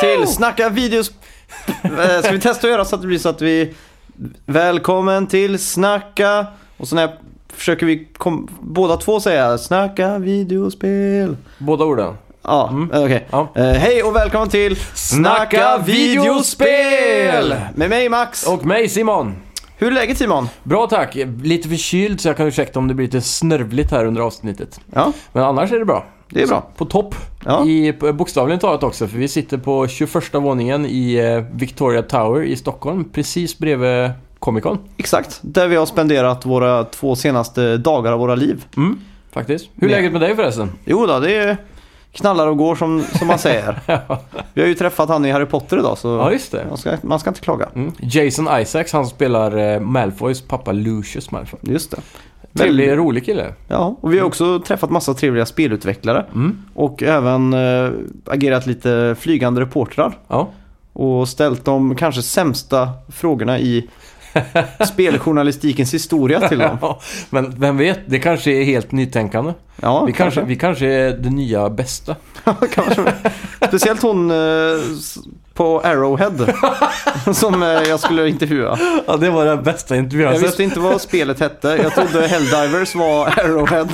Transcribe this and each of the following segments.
till Snacka videos... Eh, Ska vi testa att göra så att det blir så att vi... Välkommen till Snacka... Och så när försöker vi kom... båda två säga Snacka videospel. Båda orden. Ja, eh, okej. Ja. Eh, hej och välkommen till Mm. Snacka videospel! Med mig Max. Och mig Simon. Hur är läget Simon? Bra tack. Lite förkyld så jag kan ursäkta om det blir lite snörvligt här under avsnittet. Ja, Men annars är det bra. det är bra. På topp. Ja. I på- bokstavligen talat också. För vi sitter på 21 våningen i eh, Victoria Tower i Stockholm. Precis bredvid Comic Con. Exakt. Där vi har spenderat våra två senaste dagar av våra liv. Mm, faktiskt. Hur är Ja. läget med dig förresten? Jo då, det är knallar och går som, som man säger. Vi har ju träffat han i Harry Potter idag så Ja, just det. man, ska, man ska inte klaga. Mm. Jason Isaacs, han spelar eh, Malfoys pappa Lucius Malfoy. Just det. Väldigt rolig kille. Ja, och vi har också träffat massa trevliga spelutvecklare Mm. och även eh, agerat lite flygande reportrar Ja. och ställt de kanske sämsta frågorna i speljournalistikens historia till dem. ja. Men vem vet, det kanske är helt nytänkande. Ja, Vi kanske, vi kanske är det nya bästa. kanske. Speciellt hon eh, s- på Arrowhead som eh, jag skulle intervjua. Ja, det var den bästa intervjun Jag visste inte vad spelet hette. Jag trodde Helldivers var Arrowhead.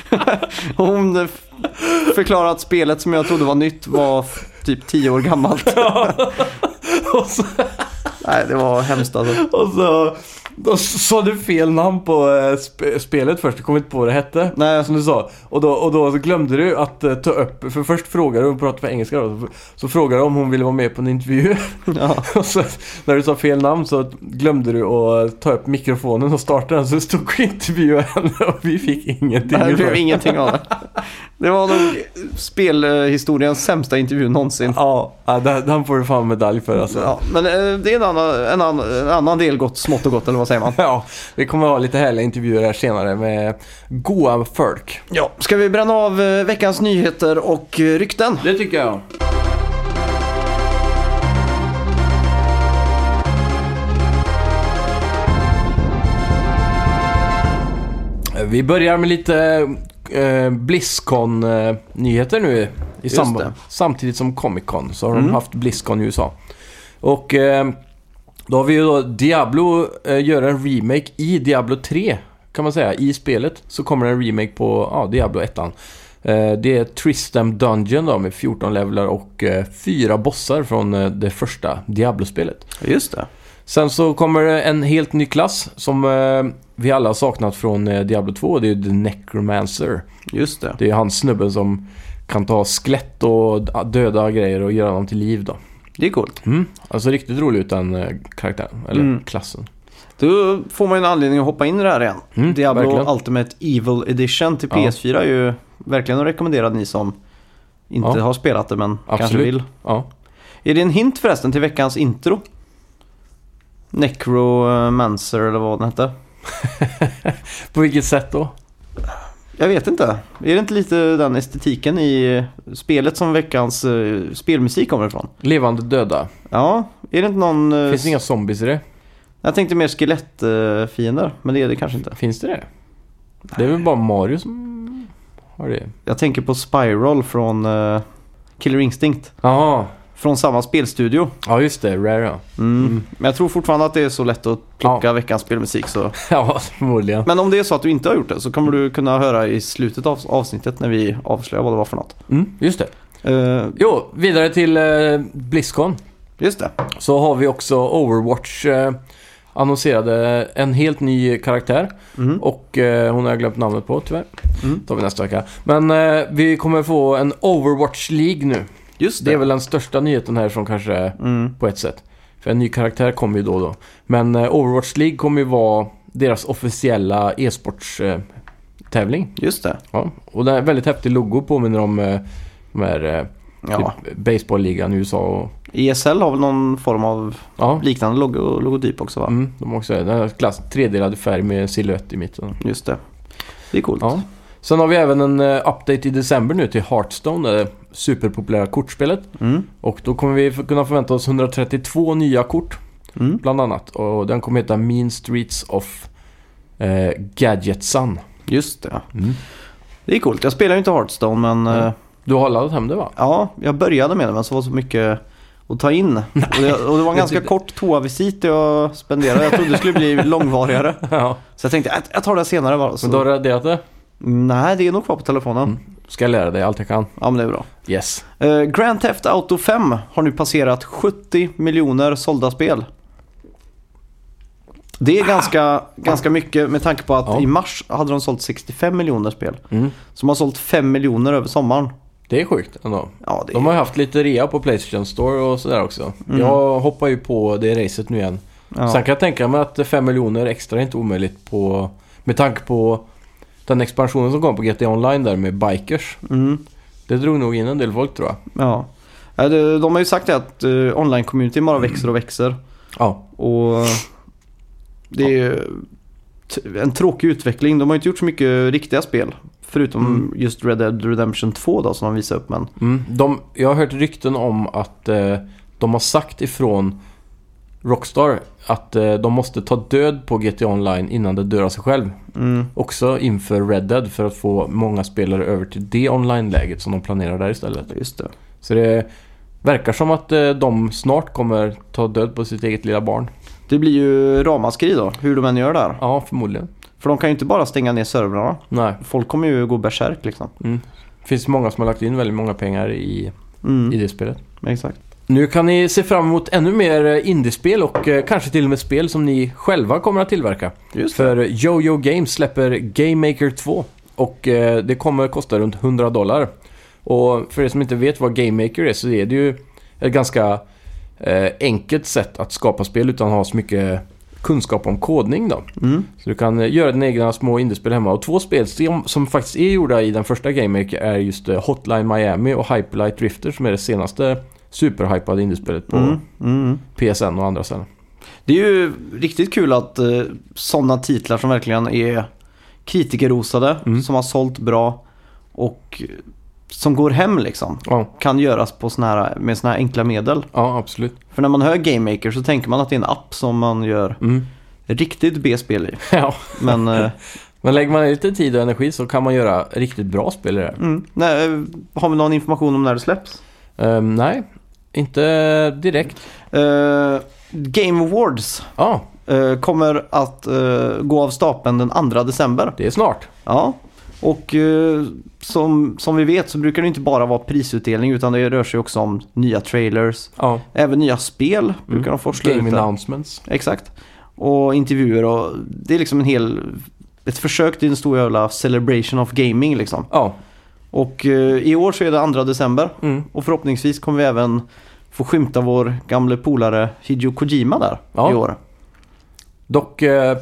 Och Hon eh, f- förklarade att spelet som jag trodde var nytt var f- typ 10 år gammalt. Och så, Nej, det var hemskt alltså. och så då sa du fel namn på eh, sp- spelet först. Du kom inte på vad det hette. Nej, Som du sa. Och då, och då så glömde du att eh, ta upp, för först frågade du, hon pratade på engelska då, så, så frågade du om hon ville vara med på en intervju. ja. Och så, när du sa fel namn så glömde du att ta upp mikrofonen och starta den så det stod och intervjuade henne och vi fick ingenting. Det blev ingenting av det. Det var nog spelhistoriens sämsta intervju någonsin. Ja, ja, den den får du fan medalj för alltså. Ja. Ja, men eh, det är en annan, en, annan, en annan del gott, smått och gott, eller vad säger man? vi kommer ha lite härliga intervjuer här senare med goa folk. Ja, ska vi bränna av eh, veckans nyheter och eh, rykten? Det tycker jag. Vi börjar med lite eh, Blizzcon-nyheter nu i Just samband, det. samtidigt som Comic Con. Så har de Mm. haft Blizzcon i USA. Och eh, då har vi ju då Diablo eh, gör en remake i Diablo 3 kan man säga. I spelet så kommer en remake på ja, Diablo 1. Eh, det är Tristam Dungeon då med 14 levlar och eh, fyra bossar från eh, det första Diablo-spelet. Just det. Sen så kommer det en helt ny klass som eh, vi alla har saknat från eh, Diablo 2. Det är ju The Necromancer. Just det. Det är han snubben som kan ta skelett och döda grejer och göra dem till liv då. Det är coolt. Mm. Alltså riktigt rolig ut den eh, karaktären, eller Mm. klassen. Då får man ju en anledning att hoppa in i det här igen. Mm, Diablo verkligen. Ultimate Evil Edition till Ja. PS4 är ju verkligen att rekommendera ni som inte Ja. har spelat det men kanske Absolut. vill. Ja. Är det en hint förresten till veckans intro? Necromancer eller vad den hette. På vilket sätt då? Jag vet inte. Är det inte lite den estetiken i eh, spelet som veckans eh, spelmusik kommer ifrån? Levande döda. Ja, är det inte någon... eh, Finns det inga zombies i det? Jag tänkte mer skelettfiender, men det är det kanske inte. Finns det det? Det är väl bara Mario som har det? Jag tänker på Spiral från eh, Killer Instinct. Jaha, Från samma spelstudio. ja just det, Rare ja. Mm. Men jag tror fortfarande att det är så lätt att plocka veckans spelmusik. Så. Ja, förmodligen. Men om det är så att du inte har gjort det så kommer du kunna höra i slutet av avsnittet när vi avslöjar vad det var för något. Mm, just det. Eh, Jo, vidare till eh, Blizzcon. just det. Så har vi också Overwatch eh, annonserade en helt ny karaktär. Mm. Och eh, hon har jag glömt namnet på tyvärr. Mm. tar vi nästa vecka. Men eh, vi kommer få en Overwatch League nu. Just Det är väl den största nyheten här som kanske är Mm. på ett sätt. För en ny karaktär kommer ju då och då. Men eh, Overwatch League kommer ju vara deras officiella e-sportstävling. Just det. Ja. Och den är väldigt häftig logo påminner om eh, de här eh, Ja. typ baseballligan i USA och... ESL E har väl någon form av Ja. liknande logo- logotyp också va? Mm, de har också den här klass, tredelad färg med en silhuett i mitten. Just det. Det är coolt. Ja. Sen har vi även en eh, update i december nu till Hearthstone, det superpopulära kortspelet. Mm. Och då kommer vi f- kunna förvänta oss 132 nya kort. Mm. bland annat. Och den kommer heta Mean Streets of eh, Gadgetsun. Mm. Just det. Det är coolt. Jag spelar ju inte Hearthstone men Mm. eh, Du har laddat hem det va? Ja, jag började med det men så var det så mycket att ta in. Och, jag, och det var en ganska kort toavisit jag spenderade. Jag trodde det skulle bli långvarigare. ja. Så jag tänkte, "Äh, jag tar det senare bara. Så. Men du har Mm. raderat det? Nej, det är nog kvar på telefonen. Ska jag lära dig allt jag kan? Ja, men det är bra. Yes. Eh, Grand Theft Auto 5 har nu passerat 70 miljoner sålda spel. Det är ganska, ganska mycket med tanke på att Ah. Ja. i mars hade de sålt 65 miljoner spel. Som har sålt 5 miljoner över sommaren. Det är sjukt ändå. Ja, det är... De har ju haft lite rea på Playstation Store och sådär också. Jag hoppar ju på det racet nu igen. Ja. Sen kan jag tänka mig att 5 miljoner extra är inte omöjligt på... Med tanke på den expansionen som kom på GTA Online där med bikers. Mm, Det drog nog in en del folk tror jag. ja. Eh, det- De har ju sagt det att eh, online-communityn bara växer och växer. Ja. Och det är ju t- en tråkig utveckling. De har ju inte gjort så mycket riktiga spel. Förutom Mm. just Red Dead Redemption 2 då som de visade upp. Men Mm. De, jag har hört rykten om att eh, de har sagt ifrån Rockstar att eh, de måste ta död på GTA Online innan det dör av sig själv. mm, Också inför Red Dead för att få många spelare över till det online-läget som de planerar där istället. just det. Så det verkar som att eh, de snart kommer ta död på sitt eget lilla barn. Det blir ju ramaskri då, hur de än gör där. Ja, förmodligen. För de kan ju inte bara stänga ner servrarna. Nej. Folk kommer ju gå berserk liksom. Mm. Finns många som har lagt in väldigt många pengar i, Mm, i det spelet. exakt. Nu kan ni se fram emot ännu mer eh, indiespel och eh, kanske till och med spel som ni själva kommer att tillverka. Just För Jojo Games släpper Game Maker 2 och eh, det kommer kosta runt 100 dollar. Och för er som inte vet vad Game Maker är så är det ju ett ganska eh, enkelt sätt att skapa spel utan att ha så mycket kunskap om kodning då. Mm, Så du kan eh, göra dina egna små indiespel hemma. Och två spel som, som faktiskt är gjorda i den första Game Maker är just eh, Hotline Miami och Hyperlight Drifter som är det senaste superhypade indiespelet på mm, mm. PSN och andra ställen. Det är ju riktigt kul att eh, sådana titlar som verkligen är kritikerrosade, Mm. som har sålt bra och eh, som går hem liksom. Ja, Kan göras på såna här, med sådana här enkla medel. ja absolut. För när man hör Game Maker så tänker man att det är en app som man gör Mm. riktigt B-spel i. ja. Men eh, Men lägger man ner lite tid och energi så kan man göra riktigt bra spel i det här. mm, nej, eh, har vi någon information om när det släpps? Ehm, nej, inte direkt. Eh, Game Awards Ja, eh, kommer att eh, gå av stapeln den 2 december. det är snart. Ja. Och eh, som, som vi vet så brukar det inte bara vara prisutdelning utan det rör sig också om nya trailers. Ja. Även nya spel brukar de forsla Mm. Game ut. där. announcements. Exakt. Och intervjuer och det är liksom en hel... Ett försök till en stor jävla celebration of gaming liksom. Ja, Och eh, i år så är det 2 december. mm. Och förhoppningsvis kommer vi även få skymta vår gamle polare Hideo Kojima där Ja. i år. dock... eh,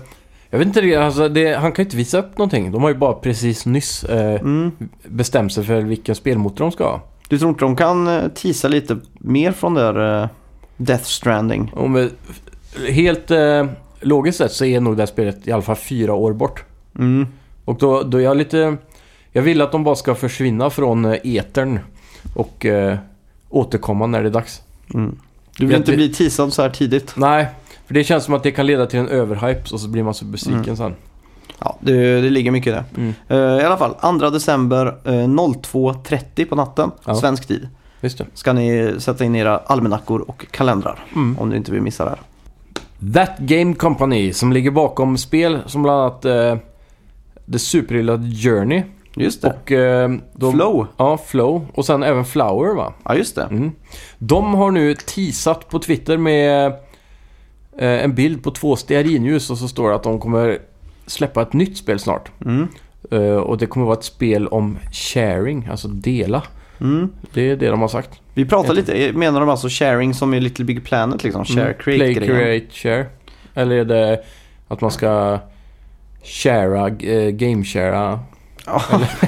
jag vet inte, riktigt, alltså det, han kan ju inte visa upp någonting. De har ju bara precis nyss eh, Mm. bestämt sig för vilken spelmotor de ska ha. Du tror inte de kan eh, teasa lite mer från där eh, Death Stranding? Om vi, helt eh, logiskt sett så är nog det här spelet i alla fall fyra år bort. Mm. Och då, då är jag lite... Jag vill att de bara ska försvinna från eh, etern och eh, återkomma när det är dags. Mm. Du vill Jag inte vet- bli teasad så här tidigt? Nej, för det känns som att det kan leda till en överhype och så blir man så besviken Mm. sen. Ja, det, det ligger mycket i det. Eh, I alla fall, 2 december eh, 02.30 på natten, Ja. svensk tid, Just det. ska ni sätta in era almanackor och kalendrar. Om ni inte vill missa det här. That Game Company som ligger bakom spel som bland annat eh, det superhyllade Journey Just det. och... Eh, de, Flow. Ja, Flow. Och sen även Flower va? Ja, just det. Mm. De har nu teasat på Twitter med eh, en bild på två stearinljus och så står det att de kommer släppa ett nytt spel snart. Mm. Eh, och det kommer vara ett spel om sharing, alltså dela. Mm. Det är det de har sagt. Vi pratar lite, menar de alltså sharing som i Little Big Planet liksom? Share, Mm. create Play, grejen. create, share. Eller är det att man ska shara, eh, game-shara, Ja.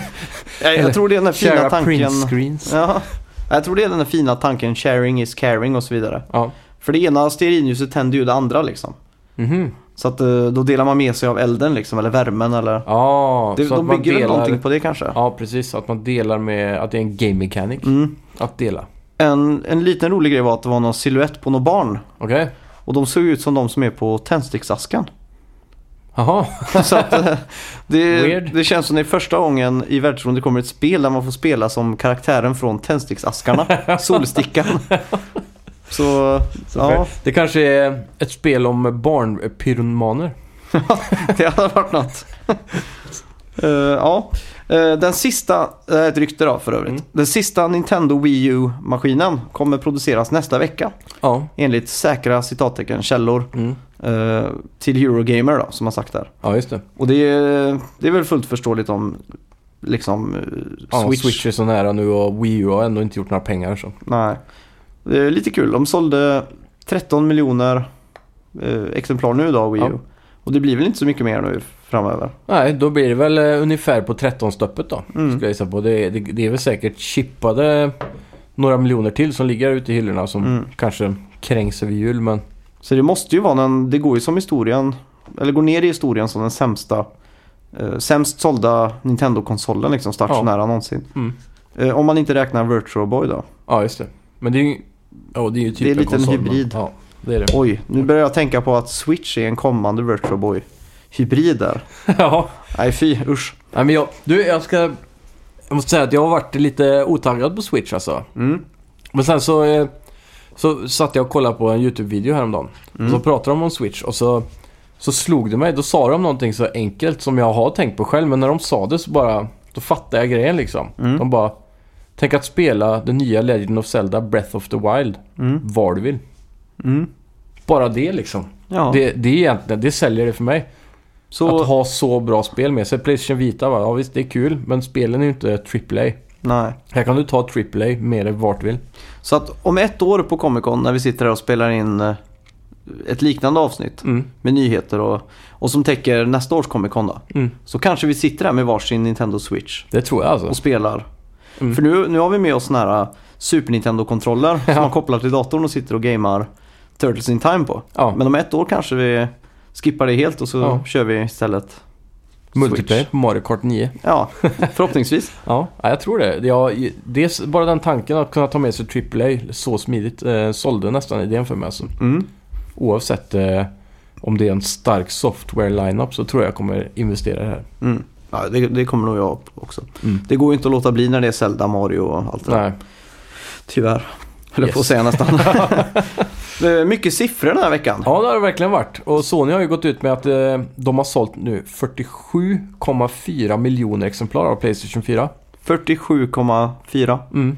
jag, jag tror det är den här fina shara tanken. print screens? Ja. Jag tror det är den här fina tanken sharing is caring och så vidare. Ja. För det ena stearinljuset tänder ju det andra liksom. Mhm. Så att eh, då delar man med sig av elden liksom, eller värmen eller... Ja, Det, så att de man bygger väl någonting delar... på det kanske? Ja, precis. Att man delar med... Att det är en game mechanic. Mm. Att dela. En, en liten rolig grej var att det var någon silhuett på någon barn. Okej? Och de såg ut som de som är på tändsticksasken. Jaha, Så att, eh, det, Weird. det känns som det är första gången i världsrummet det kommer ett spel där man får spela som karaktären från tändsticksaskarna, Solstickan. Så, ja, det kanske är ett spel om barnpyromaner. det hade varit något. Eh, ja. Eh, den sista, det här är ett rykte då för övrigt. Mm. Den sista Nintendo Wii U-maskinen kommer produceras nästa vecka. Ja. Enligt säkra citattecken källor Mm. eh, till Eurogamer då, som har sagt där. Ja, just det. Och det är, det är väl fullt förståeligt om liksom eh, Ja, Switch. Switch. är så nära nu och Wii U har ändå inte gjort några pengar så. Nej. Det är lite kul. De sålde 13 miljoner eh, exemplar nu då, Wii U. Ja. Och det blir väl inte så mycket mer nu framöver. Nej, då blir det väl eh, ungefär på 13-stöppet då. Mm. Ska jag gissa på. Det, det, det är väl säkert chippade några miljoner till som ligger ute i hyllorna som Mm. kanske kränks över jul. Men Så det måste ju vara den, det går ju som historien, eller går ner i historien som den sämsta, eh, sämst sålda Nintendo-konsolen liksom stationära någonsin. Mm. Eh, om man inte räknar Virtual Boy då. ja, just det. Men det är ju, ja, det är ju typ Det är en lite en konsol, men- hybrid. Ja, det är det. Oj, nu börjar jag tänka på att Switch är en kommande Virtual Boy-hybrid där. ja. Nej fy, usch. Nej, men jag, du, jag ska... Jag måste säga att jag har varit lite otaggad på Switch alltså. Mm. Men sen så, eh, så satt jag och kollade på en YouTube-video häromdagen. Mm. Och så pratade de om Switch och så, så slog det mig. Då sa de någonting så enkelt som jag har tänkt på själv. Men när de sa det så bara... Då fattade jag grejen liksom. Mm. De bara... Tänk att spela den nya Legend of Zelda Breath of the Wild Mm. var du vill. Mm. Bara det liksom. Ja, Det, det är egentligen, det säljer det för mig. så... Att ha så bra spel med sig. Playstation Vita va, ja visst det är kul. Men spelen är ju inte AAA. Nej. Här kan du ta AAA med dig vart du vill. Så att om ett år på Comic Con när vi sitter här och spelar in eh, ett liknande avsnitt Mm. med nyheter och, och som täcker nästa års Comic Con då. Mm. Så kanske vi sitter här med varsin Nintendo Switch Det tror jag alltså. och spelar. Mm. För nu, nu har vi med oss såna här äh, Super Nintendo-kontroller som man kopplar till datorn och sitter och gamar Turtles in Time på. Ja. Men om ett år kanske vi skippar det helt och så Ja. kör vi istället Multiplayer Switch. på Mario Kart 9. Ja, förhoppningsvis. Ja, ja, jag tror det. Jag, det är s- bara den tanken att kunna ta med sig AAA så smidigt eh, sålde nästan idén för mig. Alltså. Mm. Oavsett eh, om det är en stark software-lineup så tror jag jag kommer investera i det här. Mm. Ja, det, det kommer nog jag också. Mm. Det går ju inte att låta bli när det är Zelda, Mario och allt det där. Nej. Tyvärr. Höll jag på att Yes. säga nästan. det är mycket siffror den här veckan. Ja, det har det verkligen varit. Och Sony har ju gått ut med att eh, de har sålt nu 47,4 miljoner exemplar av Playstation 4. 47,4. Mm.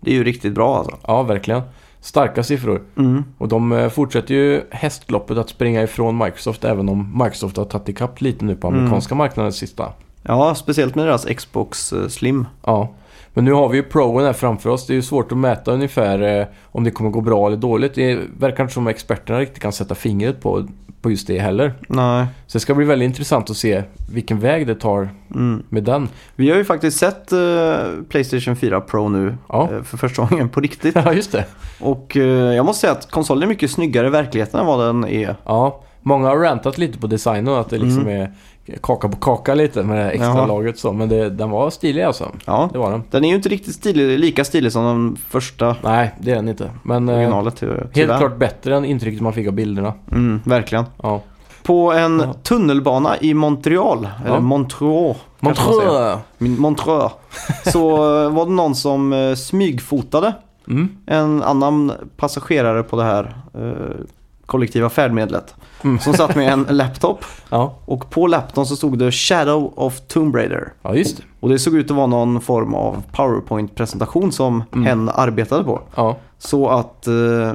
Det är ju riktigt bra alltså. Ja, verkligen. Starka siffror. Mm. Och de eh, fortsätter ju hästloppet att springa ifrån Microsoft även om Microsoft har tagit ikapp lite nu på Mm. amerikanska marknaden sista. Ja, speciellt med deras Xbox eh, Slim. Ja. Men nu har vi ju proen här framför oss. Det är ju svårt att mäta ungefär eh, om det kommer gå bra eller dåligt. Det verkar inte som experterna riktigt kan sätta fingret på, på just det heller. Nej. Så det ska bli väldigt intressant att se vilken väg det tar Mm. med den. Vi har ju faktiskt sett eh, Playstation 4 Pro nu Ja. eh, för första gången på riktigt. Ja, just det. Och eh, jag måste säga att konsolen är mycket snyggare i verkligheten än vad den är. Ja, många har rantat lite på designen att det liksom är kaka på kaka lite med det här extra Mm. Jaha. lagret så. Men det, den var stilig alltså. Ja. Det var den. Den är ju inte riktigt stilig, lika stilig som den första Nej, det är den inte. Men eh, originalet. ty- helt tyvärr. klart bättre än intrycket man fick av bilderna. Mm, verkligen. Ja. På en Ja. tunnelbana i Montreal, eller Ja. Montreux. kanske man säger. Montreux! Min- Montreux. Så eh, var det någon som eh, smygfotade Mm. en annan passagerare på det här eh, kollektiva färdmedlet. Mm. Som satt med en laptop Ja. och på laptopen så stod det Shadow of Tomb Raider. ja, just det. Och det såg ut att vara någon form av PowerPoint-presentation som Mm. hen arbetade på. Ja. Så att eh,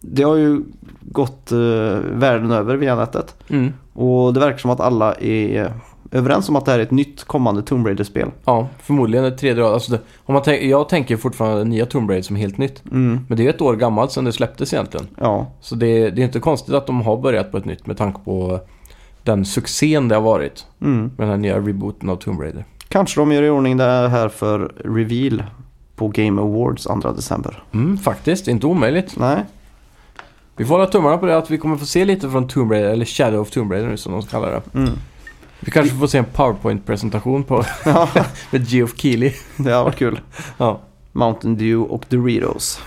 det har ju gått eh, världen över via nätet. Mm. Och det verkar som att alla är överens om att det här är ett nytt kommande Tomb Raider-spel. Ja, förmodligen ett tredje rad. Alltså det, om man tänk, jag tänker fortfarande nya Tomb Raider som helt nytt. Mm. Men det är ett år gammalt sedan det släpptes egentligen. Ja, Så det, det är inte konstigt att de har börjat på ett nytt med tanke på den succén det har varit mm. med den här nya rebooten av Tomb Raider. kanske de gör i ordning det här för reveal på Game Awards 2 december. Mm, faktiskt, inte omöjligt. Nej, Vi får hålla tummarna på det att vi kommer få se lite från Tomb Raider, eller Shadow of Tomb Raider nu som de kallar det. mm. Vi kanske får se en powerpoint-presentation på ja, med Geoff Keighley. det har varit kul. Ja. Mountain Dew och Doritos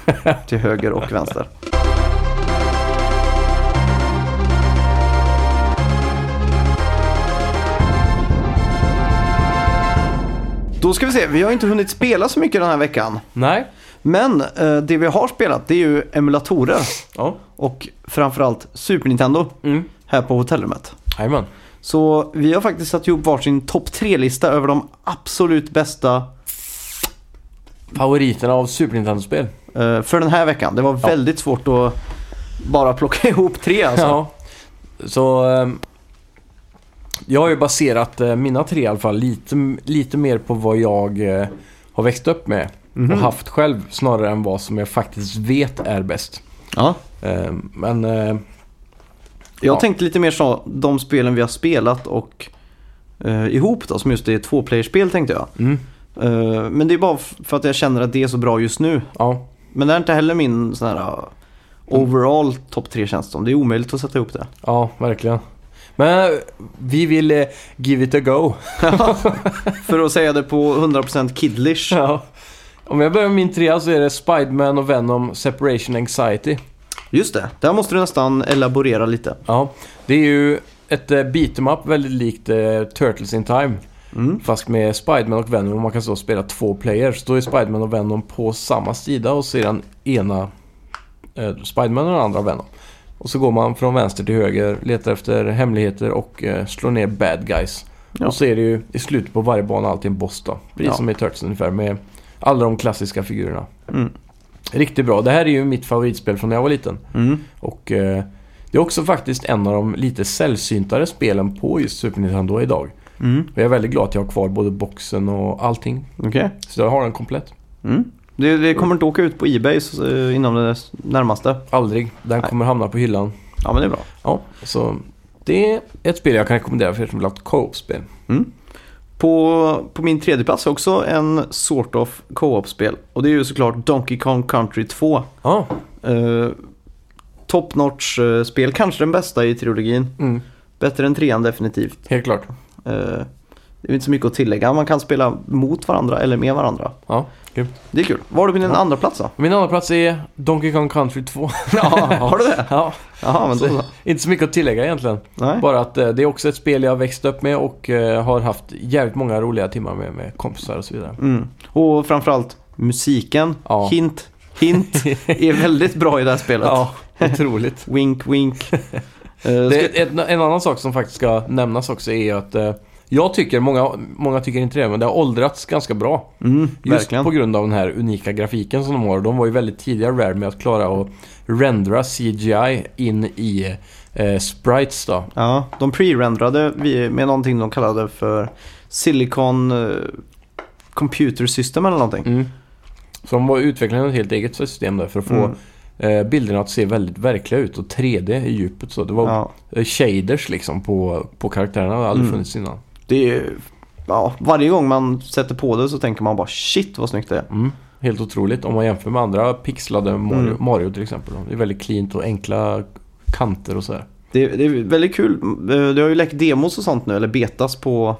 till höger och vänster. Då ska vi se, vi har inte hunnit spela så mycket den här veckan. Nej. Men eh, det vi har spelat det är ju emulatorer Ja. och framförallt Super Nintendo Mm. här på hotellrummet. Jajamän. Så vi har faktiskt satt ihop varsin topp tre-lista över de absolut bästa Favoriterna av Super Nintendo-spel. eh, för den här veckan. Det var Ja. väldigt svårt att bara plocka ihop tre alltså. Ja. Så... ehm, jag har ju baserat eh, mina tre i alla fall lite, lite mer på vad jag eh, har växt upp med Mhm. och haft själv snarare än vad som jag faktiskt vet är bäst. Ja. Eh, men... eh, Jag Ja. tänkte lite mer så, de spelen vi har spelat och eh, ihop då, som just är tvåplayerspel tänkte jag. mm, Eh, men det är bara f- för att jag känner att det är så bra just nu. ja. Men det är inte heller min sån här Mm. eh, overall topp tre känns det som. Det är omöjligt att sätta ihop det. Ja, verkligen. Men eh, vi vill eh, give it a go. för att säga det på 100% kidlish. Ja. Om jag börjar med min trea så är det Spiderman och Venom Separation Anxiety. Just det, där måste du nästan elaborera lite. Ja, det är ju ett eh, beat em up väldigt likt eh, Turtles in Time. Mm. Fast med Spiderman och Venom och man kan så spela två players. Då är Spiderman och Venom på samma sida och så är den ena eh, Spiderman och den andra Venom. Och så går man från vänster till höger, letar efter hemligheter och eh, slår ner bad guys. Ja. Och så är det ju i slutet på varje bana alltid en boss då. Precis Ja. som i Turtles ungefär med alla de klassiska figurerna. Mm. Riktigt bra. Det här är ju mitt favoritspel från när jag var liten. Mm. Och eh, det är också faktiskt en av de lite sällsyntare spelen på just Super Nintendo idag. Mm. Jag är väldigt glad att jag har kvar både boxen och allting. Okej. Så jag har den komplett. Mm. Det, det kommer inte åka ut på Ebay eh, inom det närmaste. Aldrig. Den Nej. kommer hamna på hyllan. Ja men det är bra. Ja, så det är ett spel jag kan rekommendera för er som vill ha ett co-op-spel. Mm. På, på min tredje plats är också en sort of co-op-spel. Och det är ju såklart Donkey Kong Country 2. Ja, Uh, top notch eh, spel, kanske den bästa i trilogin. mm, Bättre än trean definitivt. helt klart. Eh, det är inte så mycket att tillägga. Man kan spela mot varandra eller med varandra. Ja, Det är kul. Var har du på din Ja. andra plats då? Min andra plats är Donkey Kong Country 2. Ja, har du det? ja, Jaha, men då så, så. inte så mycket att tillägga egentligen. Nej. Bara att eh, det är också ett spel jag har växt upp med och eh, har haft jävligt många roliga timmar med, med kompisar och så vidare. Mm. Och framförallt musiken. Ja. Hint, hint. Är väldigt bra i det här spelet. Ja, otroligt. Wink, wink. Eh, ska- Det, en, en annan sak som faktiskt ska nämnas också är att eh, jag tycker, många, många tycker inte det, men det har åldrats ganska bra. Mm, Just verkligen. på grund av den här unika grafiken som de har. De var ju väldigt tidiga Rare med att klara att rendera CGI in i eh, sprites då. Ja, de pre-renderade vi- med någonting de kallade för Silicon eh, Computer System eller någonting. Mm. Så de var utvecklade ett helt eget system där för att få Mm. eh, bilderna att se väldigt verkliga ut och 3D i djupet så. Det var Ja, eh, shaders liksom på, på karaktärerna, det har aldrig Mm. funnits innan. det är, ja, varje gång man sätter på det så tänker man bara shit vad snyggt det är. Mm. Helt otroligt om man jämför med andra pixlade Mario, Mm. Mario till exempel. Det är väldigt cleant och enkla kanter och sådär. Det, det är väldigt kul. Eh, Det har ju läckt demos och sånt nu, eller betas på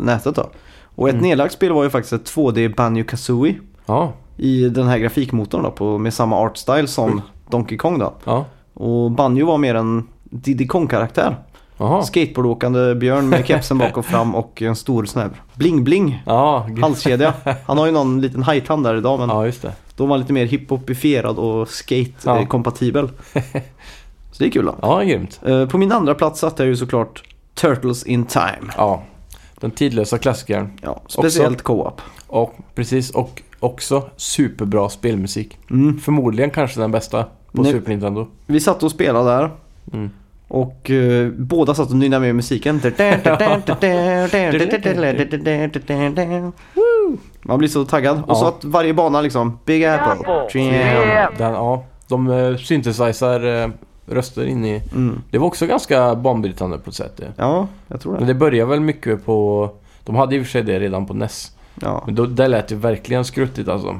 nätet då. Och ett Mm. nedlagt spel var ju faktiskt ett 2D Banjo Kazooie Ja, i den här grafikmotorn då, på, med samma art style som Donkey Kong då. ja. Och Banjo var mer en Diddy Kong-karaktär. Jaha. Skateboardåkande björn med kepsen bak och fram och en stor sån här bling-bling Ja, gud. halskedja. Han har ju någon liten hajtand där idag men ja, just det. då var han lite mer hiphopifierad och Ja. skate-kompatibel. Så det är kul då. Ja, grymt. Eh, På min andra plats satte jag ju såklart Turtles in Time. Ja. Den tidlösa klassikern. Ja, speciellt co-op. Och precis, och också superbra spelmusik. Mm. Förmodligen kanske den bästa på Nej. Super Nintendo. Vi satt och spelade där Mm. och eh, båda satt och nynnade med musiken. Man blir så taggad. Och så Ja. att varje bana liksom, Big Apple. Jam. Den, ja, de uh, synthesizer eh, röster in i... Mm. Det var också ganska banbrytande på ett sätt. Det. Ja, jag tror Men det. det börjar väl mycket på... De hade i och för sig det redan på E NES. Ja. Men då, där lät det verkligen skruttigt alltså.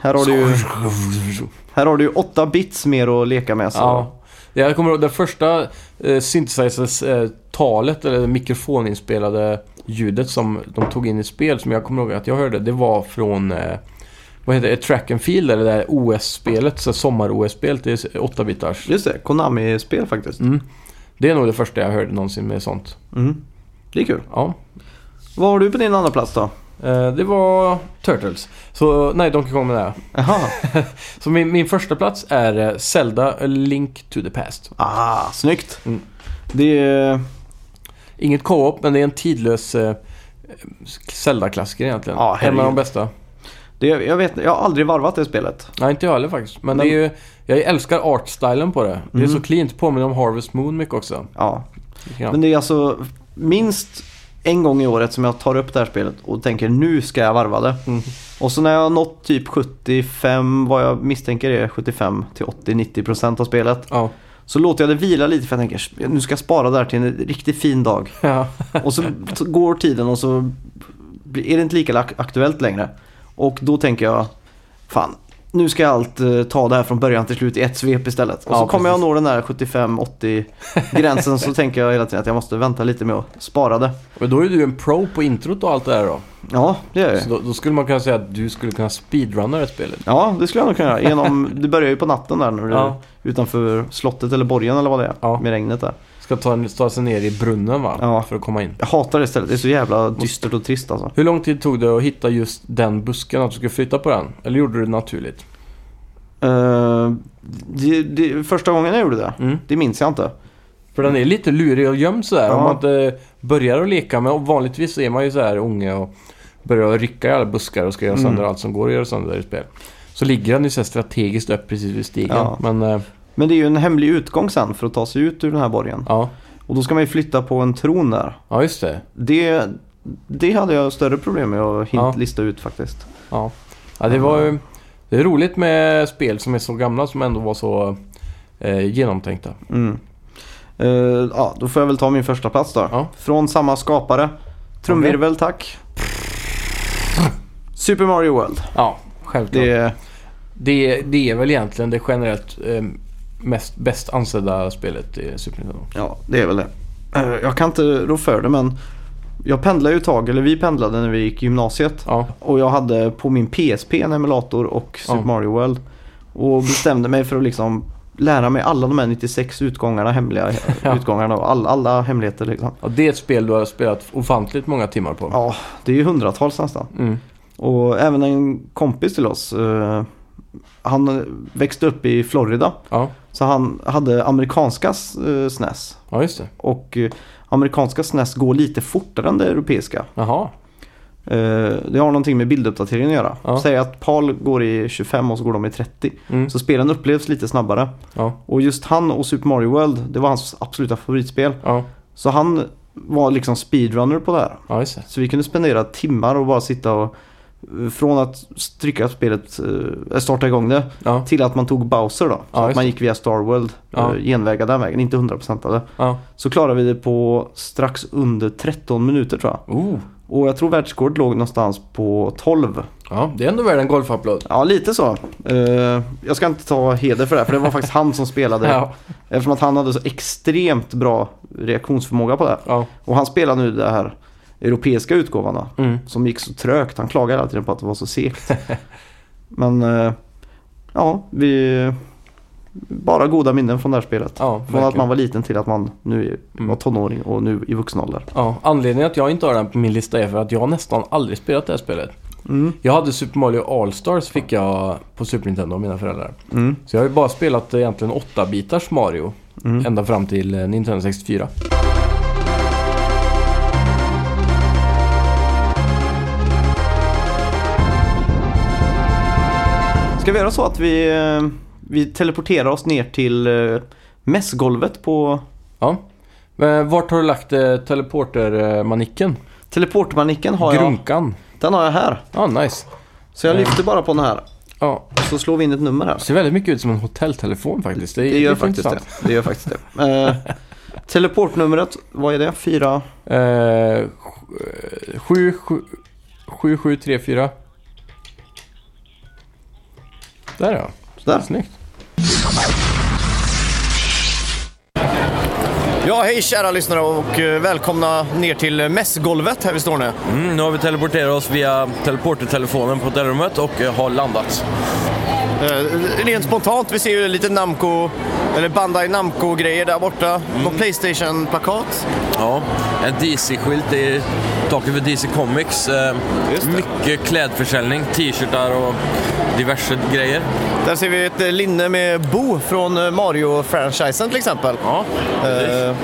Här, har du ju, här har du ju åtta bits mer att leka med. Så. Ja. Jag kommer ihåg det första eh, synthesizers-talet, eller mikrofoninspelade ljudet som de tog in i spel, som jag kommer ihåg att jag hörde, det var från eh, vad heter det? Track and Field, eller det där OS-spelet, så sommar-OS-spelet, det är 8-bitars. Just det, Konami-spel faktiskt. Mm. Det är nog det första jag hörde någonsin med sånt. Mm. Det är kul. Ja. Vad har du på din andra plats då? Eh, Det var Turtles. Så, nej, Donkey Kong menar jag. Jaha. Så min, min första plats är eh, Zelda A Link to the Past. Ah, snyggt. Mm. Det är... Inget co-op, men det är en tidlös eh, Zelda-klassiker egentligen. Ja, en herregud. av de bästa. Det, jag, vet, jag har aldrig varvat det spelet. Nej, inte jag heller faktiskt. Men, Men- det är ju, jag älskar artstylen på det. Det är Mm. så cleant. Påminner om Harvest Moon mycket också. Ja. Lite grann. Men det är alltså minst en gång i året som jag tar upp det här spelet och tänker nu ska jag varva det. Mm. Och så när jag har nått typ 75, vad jag misstänker är 75 till 80-90% av spelet. Ja. Så låter jag det vila lite för jag tänker nu ska jag spara det här till en riktigt fin dag. ja. Och så t- går tiden och så blir- är det inte lika ak- aktuellt längre. Och då tänker jag, fan, nu ska jag allt eh, ta det här från början till slut i ett svep istället. Och Ja, så kommer jag precis. nå den där 75-80 gränsen så tänker jag hela tiden att jag måste vänta lite med att spara det. Men då är du ju en pro på introt och allt det här då. Ja, det gör jag. Så då, då skulle man kunna säga att du skulle kunna speedrunna det här spelet. Ja, det skulle jag nog kunna göra. Genom, det börjar ju på natten där nu. Ja. Utanför slottet eller borgen eller vad det är. Ja. Med regnet där. Ska ta, ta sig ner i brunnen va? Ja. För att komma in. Jag hatar det stället. Det är så jävla dystert och trist alltså. Hur lång tid tog det att hitta just den busken, att du skulle flytta på den? Eller gjorde du det naturligt? Eh, det, det, första gången jag gjorde det, Mm. det minns jag inte. För den är lite lurig och gömd sådär. Ja. Om man inte börjar att leka med. Och vanligtvis så är man ju så här unge och börjar att rycka i alla buskar och ska göra Mm. sönder allt som går att göra sönder i ett spel. Så ligger den ju så här strategiskt upp precis vid stigen. Ja. Men eh, Men det är ju en hemlig utgång sen för att ta sig ut ur den här borgen. ja. Och då ska man ju flytta på en tron där. ja, just det. Det, det hade jag större problem med att hint- Ja. lista ut faktiskt. Ja. ja, det var ju... Det är roligt med spel som är så gamla som ändå var så eh, genomtänkta. Mm. Eh, ja, då får jag väl ta min första plats då. Ja. Från samma skapare. Trumvirvel tack. Super Mario World. Ja, självklart. Det är, Det, det är väl egentligen det generellt eh, mest, bäst ansedda spelet i Super Nintendo. ja, det är väl det. Eh, jag kan inte rå för det men jag pendlade ju ett tag, eller vi pendlade när vi gick i gymnasiet. Ja, Och jag hade på min PSP en emulator och Super Ja. Mario World. Och bestämde mig för att liksom lära mig alla de här 96 utgångarna, hemliga Ja. utgångarna och all, alla hemligheter liksom. ja, det är ett spel du har spelat ofantligt många timmar på. Ja, det är ju hundratals nästan. Mm. Och även en kompis till oss, eh, han växte upp i Florida. Ja. Så han hade amerikanska eh, SNES. ja, just det. Och eh, amerikanska SNES går lite fortare än det europeiska. Jaha, Eh, det har någonting med bilduppdateringen att göra. Ja. Säg att PAL går i 25 och så går de i 30. Mm. Så spelen upplevs lite snabbare. ja, Och just han och Super Mario World, det var hans absoluta favoritspel. ja, Så han var liksom speedrunner på det här. ja just det. Så vi kunde spendera timmar och bara sitta och eh, från att trycka spelet, eh, starta igång det, Ja, till att man tog Bowser då. Så Ja, att just man gick via Star World, Ja. eh, genvägar den vägen, inte 100% av det. ja. Så klarade vi det på strax under 13 minuter tror jag. Oh. Och jag tror världsrekordet låg någonstans på 12. Ja, det är ändå värre än golfapplåd. Ja, lite så. Eh, jag ska inte ta heder för det här, för det var faktiskt han som spelade. Ja, Eftersom att han hade så extremt bra reaktionsförmåga på det här. ja. Och han spelade nu det här europeiska utgåvan då, Mm. som gick så trögt. Han klagade hela tiden på att det var så segt. Men eh, ja, vi... Bara goda minnen från det här spelet. ja Från att verkligen. man var liten till att man nu är- Mm. var tonåring och nu i vuxen ålder. Ja, anledningen att jag inte har den på min lista är för att jag nästan aldrig spelat det här spelet. Mm. Jag hade Super Mario All-Stars fick jag på Super Nintendo av mina föräldrar. Mm. Så jag har ju bara spelat eh, egentligen 8-bitars Mario. Mm. Ända fram till eh, Nintendo 64. Ska vi göra så att vi, eh, vi teleporterar oss ner till eh, mässgolvet på Ja. Men vart har du lagt eh, teleportermanicken? teleportmanicken? Har jag, Grunkan? den har jag här. Ja, nice. Så jag Mm. lyfter bara på den här. Ja, Så slår vi in ett nummer här. ser väldigt mycket ut som en hotelltelefon faktiskt. Det, är Det gör lite faktiskt det. intressant. det, gör faktiskt det. Eh, teleportnumret, vad är det? Fyra? Eh, sj- eh, sju, sju, sju, sju, tre, fyra. Där ja. Där. Snyggt. Ja, hej kära lyssnare och eh, välkomna ner till mässgolvet här vi står nu. Mm, nu har vi teleporterat oss via teleportertelefonen på hotellrummet och eh, har landat. Eh, Rent spontant, vi ser ju lite Namco, eller Bandai Namco-grejer där borta. Mm. Playstation-plakat. Ja, en DC-skylt i taket för DC Comics. Eh, Just det. Mycket klädförsäljning, t-shirtar och diverse grejer. Där ser vi ett eh, linne med Bo från eh, Mario-franchisen till exempel. Ja, Eh,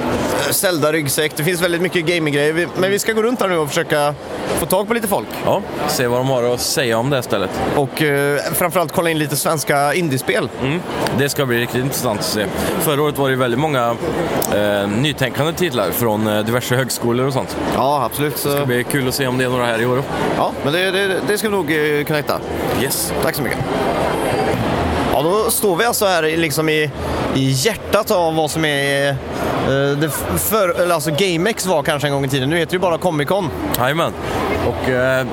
Zelda-ryggsäck, det finns väldigt mycket gaminggrejer. Vi- Men vi ska gå runt här nu och försöka få tag på lite folk. ja, se vad de har att säga om det här stället. Och eh, framförallt kolla in lite svenska indiespel. Mm. Det ska bli riktigt intressant att se. Förra året var det väldigt många eh, nytänkande titlar från eh, diverse högskolor och sånt. Ja, absolut. Det Så, blir kul att se om det är några här i år. ja, men det, det, det ska vi nog eh, kunna hitta. Yes. Tack så mycket. Ja, då står vi alltså här i- liksom i, i hjärtat av vad som är... eh, det f- för, eller alltså GameX var kanske en gång i tiden. Nu heter det ju bara Comic Con. Jajamän. Och eh,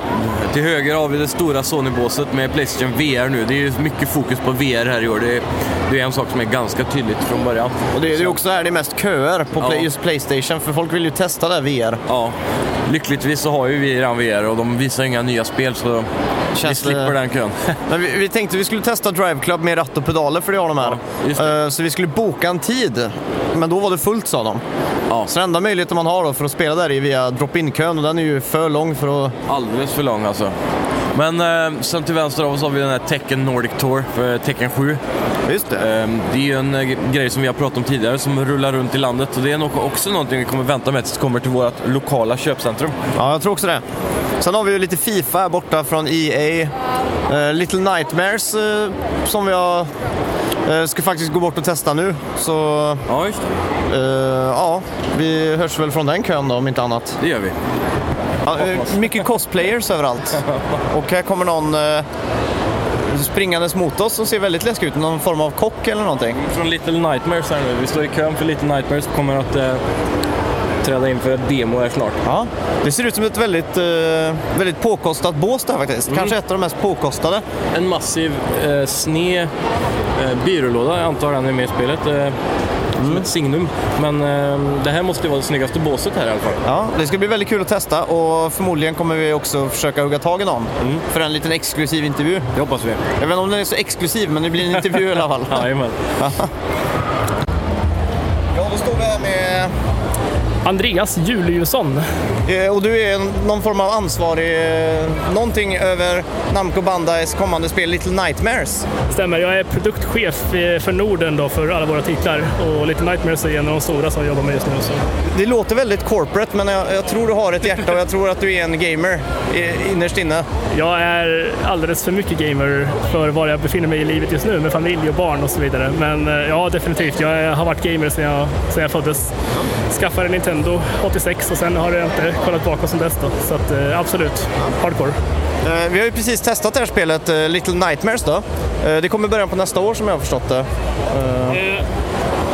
till höger har vi det stora Sony-båset med Playstation VR nu. Det är ju mycket fokus på VR här i år. Det är, det är en sak som är ganska tydligt från början. Och det, det är också här det är mest köer på Ja. play, just Playstation. För folk vill ju testa det här VR. Ja, lyckligtvis så har ju vi redan VR och de visar inga nya spel så vi Känns det- slipper den kön. Men vi, vi tänkte vi skulle testa Drive Club med ratt och pedaler för det har de här. Ja, just det. Eh, så vi skulle boka en tid. Men då var det fullt sa de. ja, Så den enda möjligheten man har då för att spela där är via drop-in-kön och den är ju för lång för att... alldeles för lång alltså. Men eh, sen till vänster av oss har vi den här Tekken Nordic Tour, för Tekken 7. Just det. Ehm, Det är ju en eh, grej som vi har pratat om tidigare som rullar runt i landet och det är nog också någonting vi kommer vänta med tills det kommer till vårt lokala köpcentrum. Ja, jag tror också det. Sen har vi ju lite Fifa här borta från EA. Eh, Little Nightmares eh, som jag eh, ska faktiskt gå bort och testa nu. Så Ja, just det. eh, ja, vi hörs väl från den kön då om inte annat. Det gör vi. Ja, eh, mycket cosplayers överallt. Och här kommer någon eh, springandes mot oss som ser väldigt läskig ut. Någon form av kock eller någonting. Från Little Nightmares här nu. Vi står i kön för Little Nightmares och kommer att eh, träda in för ett demo här snart. Ja, det ser ut som ett väldigt, eh, väldigt påkostat bås där faktiskt. Kanske ett av de mest påkostade. En massiv eh, sned eh, byrålåda, jag antar den är med i spelet. Eh, Som ett signum. Men eh, det här måste ju vara det snyggaste båset här i alla fall. Ja, det ska bli väldigt kul att testa och förmodligen kommer vi också försöka hugga tag i någon för en liten exklusiv intervju. Det hoppas vi. Jag vet inte om den är så exklusiv, men det blir en intervju i alla fall. Jajamän. Ja, då står vi här med... Andreas Juliusson. Eh, Och du är en- någon form av ansvarig, eh, någonting över Namco Bandais kommande spel Little Nightmares. Stämmer, jag är produktchef eh, för Norden då för alla våra titlar och lite Nightmares är en av de stora som jag jobbar med just nu. Så. Det låter väldigt corporate, men jag, jag tror du har ett hjärta och jag tror att du är en gamer eh, innerst inne. Jag är alldeles för mycket gamer för var jag befinner mig i livet just nu med familj och barn och så vidare. Men eh, ja, definitivt. Jag är- har varit gamer sedan jag, sedan jag föddes. Skaffade en Nintendo 86 och sen har jag inte kollat bakåt sen dess. Då. Så att, eh, absolut, hardcore. Eh, Vi har ju precis testat det här spelet eh, Little Nightmares då. Eh, Det kommer i början på nästa år som jag har förstått det.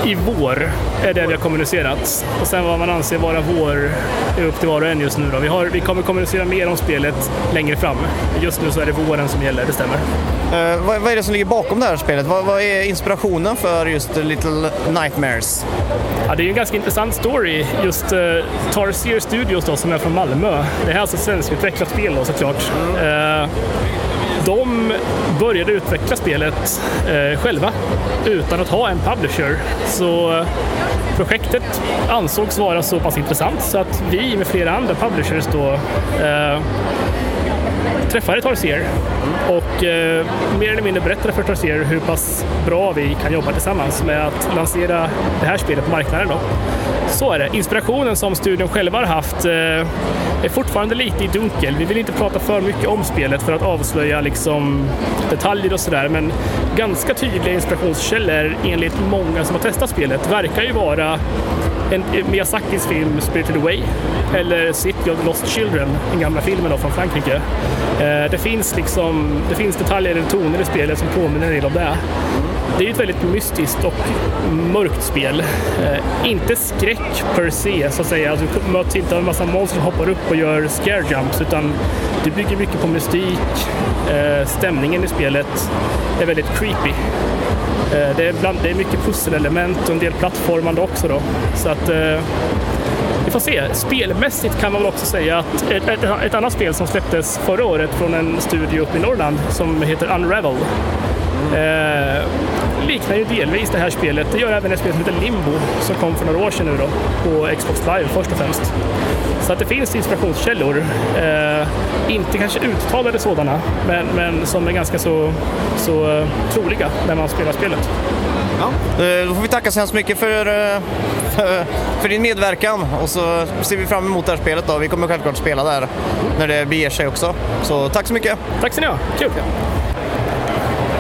I vår är det vi har kommunicerat. Och sen vad man anser vara vår är upp till var och en just nu. Då. Vi, har, vi kommer kommunicera mer om spelet längre fram. Just nu så är det våren som gäller, det stämmer. Eh, vad, vad är det som ligger bakom det här spelet? Vad, vad är inspirationen för just Little Nightmares? Ja, det är ju en ganska intressant story. Just uh, Tarsier Studios då, som är från Malmö. Det här är alltså ett svenskutvecklat spel då, såklart. Eh, de började utveckla spelet eh, själva utan att ha en publisher. Så eh, projektet ansågs vara så pass intressant så att vi med flera andra publishers då eh, träffade Tarsier och eh, mer eller mindre berättade för Tarsier hur pass bra vi kan jobba tillsammans med att lansera det här spelet på marknaden. Då. Så är det. Inspirationen som studion själva har haft eh, är fortfarande lite i dunkel. Vi vill inte prata för mycket om spelet för att avslöja liksom, detaljer och sådär, men ganska tydliga inspirationskällor enligt många som har testat spelet verkar ju vara en, Miyazakis film Spirited Away eller City of the Lost Children, den gamla filmen då från Frankrike. Eh, det, finns liksom, det finns detaljer eller toner i spelet som påminner en del om det. Det är ju ett väldigt mystiskt och mörkt spel. Eh, inte skräck per se, så att säga. Alltså, du möts inte av en massa monster som hoppar upp och gör scare jumps, utan du bygger mycket på mystik. Eh, stämningen i spelet är väldigt creepy. Eh, Det är, bland, det är mycket pusselelement och en del plattformande också. Då. Så att, eh, vi får se. Spelmässigt kan man väl också säga att ett, ett, ett annat spel som släpptes förra året från en studio uppe i Norrland som heter Unravel Eh, liknar ju delvis det här spelet. Det gör även ett spel som heter Limbo som kom för några år sedan nu då, på Xbox Live först och främst. Så att det finns inspirationskällor. Eh, inte kanske uttalade sådana, men, men som är ganska så, så eh, troliga när man spelar spelet. Eh, Då får vi tacka så hemskt mycket för, eh, för, för din medverkan och så ser vi fram emot det här spelet då. Vi kommer självklart spela där när det beger sig också. Så tack så mycket! Tack ska ni ha, kul!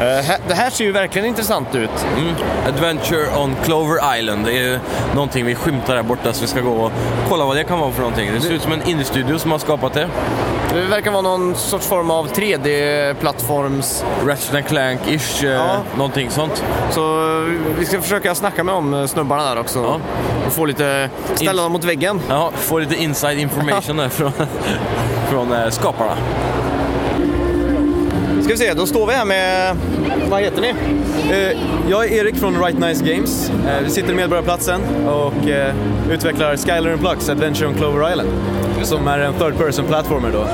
Eh, hä- Det här ser ju verkligen intressant ut. Mm. Adventure on Clover Island. Det är ju någonting vi skymtar där borta så vi ska gå och kolla vad det kan vara för någonting. Det ser ut som en indie-studio som har skapat det. Det verkar vara någon sorts form av 3D-plattforms. Ratchet Clank-ish, eh, Ja. någonting sånt. Så vi ska försöka snacka med de snubbarna där också. Ja. Och få lite... Ställa dem mot väggen. Ja, får lite inside information där från, från eh, skaparna. Ska vi se, då står vi här med... Vad heter ni? Eh, Jag är Erik från Right Nice Games. Eh, Vi sitter i Medborgarplatsen och eh, utvecklar Skylar and Plux Adventure on Clover Island. Som är en third person platformer då.